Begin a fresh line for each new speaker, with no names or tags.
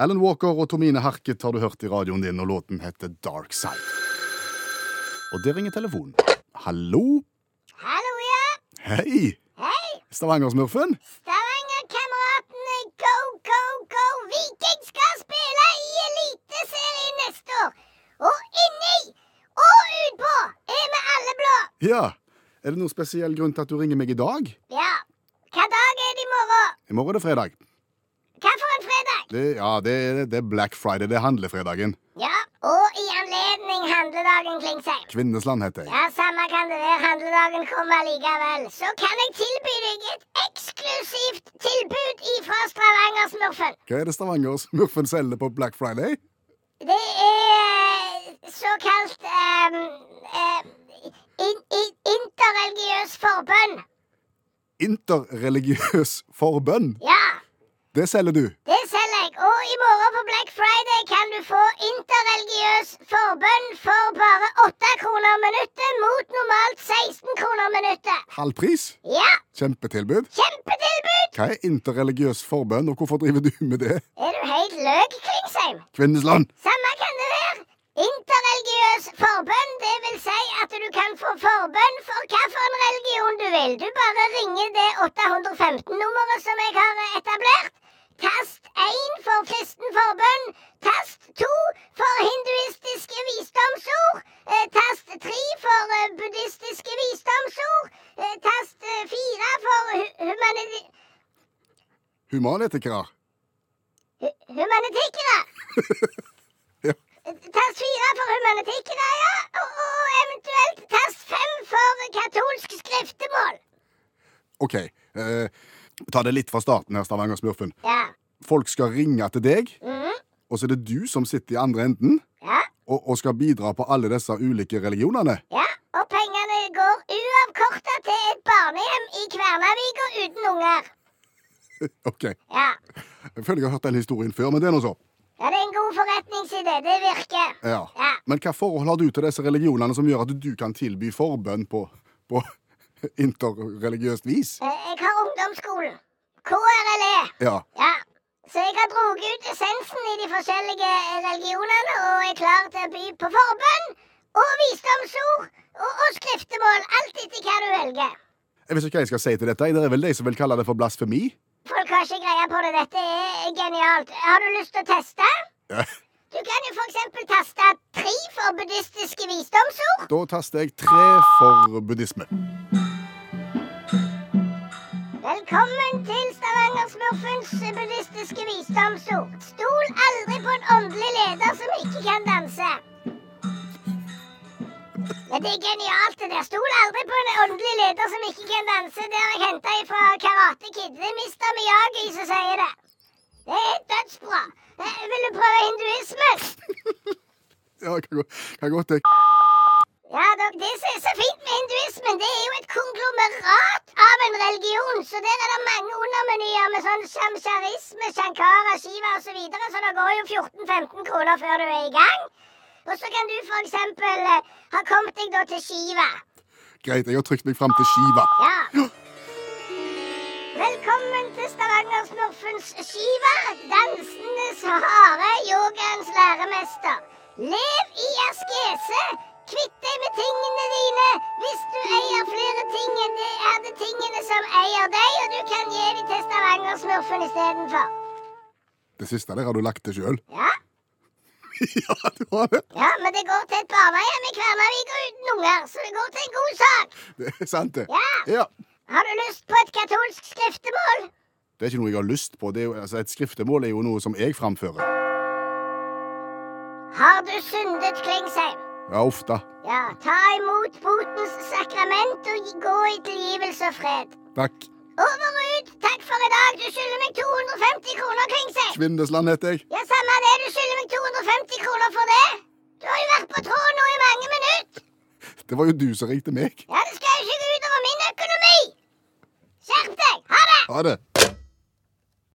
Alan Walker og Tomine Harket har du hørt i radioen din, og låten heter Dark Side. Og der ringer telefonen. Hallo?
Hallo, ja.
Hei!
Hei,
Stavanger-smurfen?
Stavanger-kameratene. Go, go, go. Viking skal spille i Eliteserien neste år. Og inni og utpå er vi alle blå.
Ja. Er det noen spesiell grunn til at du ringer meg i dag?
Ja. Hva dag er det i morgen?
I morgen er det fredag.
Hva for en fredag?
Det, ja, det, er- det er Black Friday. Det er handlefredagen.
Ja, og i anledning handledagen, Klingsheim.
Kvinnesland heter jeg.
Ja, samme kan det være. Handledagen kommer likevel. Så kan jeg tilby deg et eksklusivt tilbud ifra Stavanger-smurfen.
Hva er det Stavanger-smurfen selger på Black Friday?
Det er eh, såkalt um, in, in, interreligiøs forbønn.
Interreligiøs forbønn.
Ja,
Det selger du.
det selger jeg. Og i morgen på Black Friday kan du få interreligiøs forbønn for bare 8 kroner minuttet mot normalt 16 kroner minuttet.
Halv pris.
Ja,
Kjempetilbud.
kjempetilbud!
Hva er interreligiøs forbønn, og hvorfor driver du med det?
Er du helt løk, Klingsheim?
Kvinnesland!
Samme kan det være. Interreligiøs forbønn, det vil si at du kan få forbønn for hvilken religion du vil. Du bare ringer det 815-nummeret som jeg har etablert. Tast 1 for kristen forbønn. Tast 2 for hinduistiske visdomsord. eh, Tast 3 for eh, buddhistiske visdomsord. eh, Tast 4 for hu humaniti
Humanetikere.
hu- humanitikere.
Ja.
Tast fire for humanitikere, ja. Og, og eventuelt tast fem for katolsk skriftemål.
OK, eh, ta det litt fra starten her, Stavanger-smurfen.
Ja.
Folk skal ringe til deg,
Mhm.
og så er det du som sitter i andre enden
ja.
og, og skal bidra på alle disse ulike religionene.
Ja. Og pengene går uavkorta til et barnehjem i Kvernavika uten unger.
OK.
Ja.
Jeg føler jeg har hørt den historien før, men det er nå så.
ja. Det er en god forretningsidé. Det virker.
Ja.
Ja.
Men hva forhold har du til disse religionene som gjør at du kan tilby forbønn på, på interreligiøst vis?
Eh, Jeg har ungdomsskolen. KRLE.
Ja.
Ja. Så jeg har dratt ut essensen i de forskjellige religionene og er klar til å by på forbønn og visdomsord og, og skriftemål. Alt etter hva du velger.
Jeg vet ikke hva jeg skal si til dette. Det er vel de som vil kalle det for blasfemi?
Folk har ikke greie på det. Dette er genialt. Har du lyst til å teste?
Ja.
Du kan jo f.eks. taste tre for buddhistiske visdomsord.
Da taster jeg tre for buddhisme.
Velkommen til Stavanger-smurfens buddhistiske visdomsord. Stol aldri på en åndelig leder som ikke kan danse. Men det er genialt, det der. Stol aldri på en åndelig leder som ikke kan danse. Det har jeg henta fra Karate Kid. Det er Mr. Miyagi som sier det. Det er dødsbra. Eh, Vil du prøve hinduismen?
Ja, kan gå, kan gå til
Ja, dok, Det som er så fint med hinduismen, det er jo et konglomerat av en religion. Så der er det mange undermenyer med sånn shamsharisme, shankara, shiva osv. Så, videre, så det går jo 14-15 kroner før du er i gang. Og så kan du f.eks. ha kommet deg da til Shiva.
Greit, jeg har trykt meg fram til Shiva.
Ja. Velkommen til Stavanger-smurfens Shiva, dansenes harde yogaens læremester. Lev i askese. Kvitt deg med tingene dine. Hvis du eier flere ting enn det er det tingene som eier deg, og du kan gi dem til Stavanger-smurfen istedenfor.
Det siste der har du lagt til sjøl.
Ja.
ja, du har det.
ja, men det går til et barnehjem i Kvernavik og uten unger, så det går til en god sak.
Det er sant, det.
Ja.
Ja.
Har du lyst på et katolsk skriftemål?
Det er ikke noe jeg har lyst på. Det er jo, altså, et skriftemål er jo noe som jeg framfører.
Har du syndet, Klingsheim?
Ja, ofte.
Ja, ta imot botens sakrament og gi- gå i tilgivelse og fred.
Takk.
Over og ut. Takk for i dag. Du skylder meg 250 kroner, Klingsheim.
Kvinnesland heter jeg.
Ja, samme det. Du skylder meg 250 kroner for det. Du har jo vært på tråden nå i mange minutter.
Det var jo du som ringte meg.
Ja, det skal jo ikke gå utover min økonomi. Skjerp deg. Ha det.
Ha det.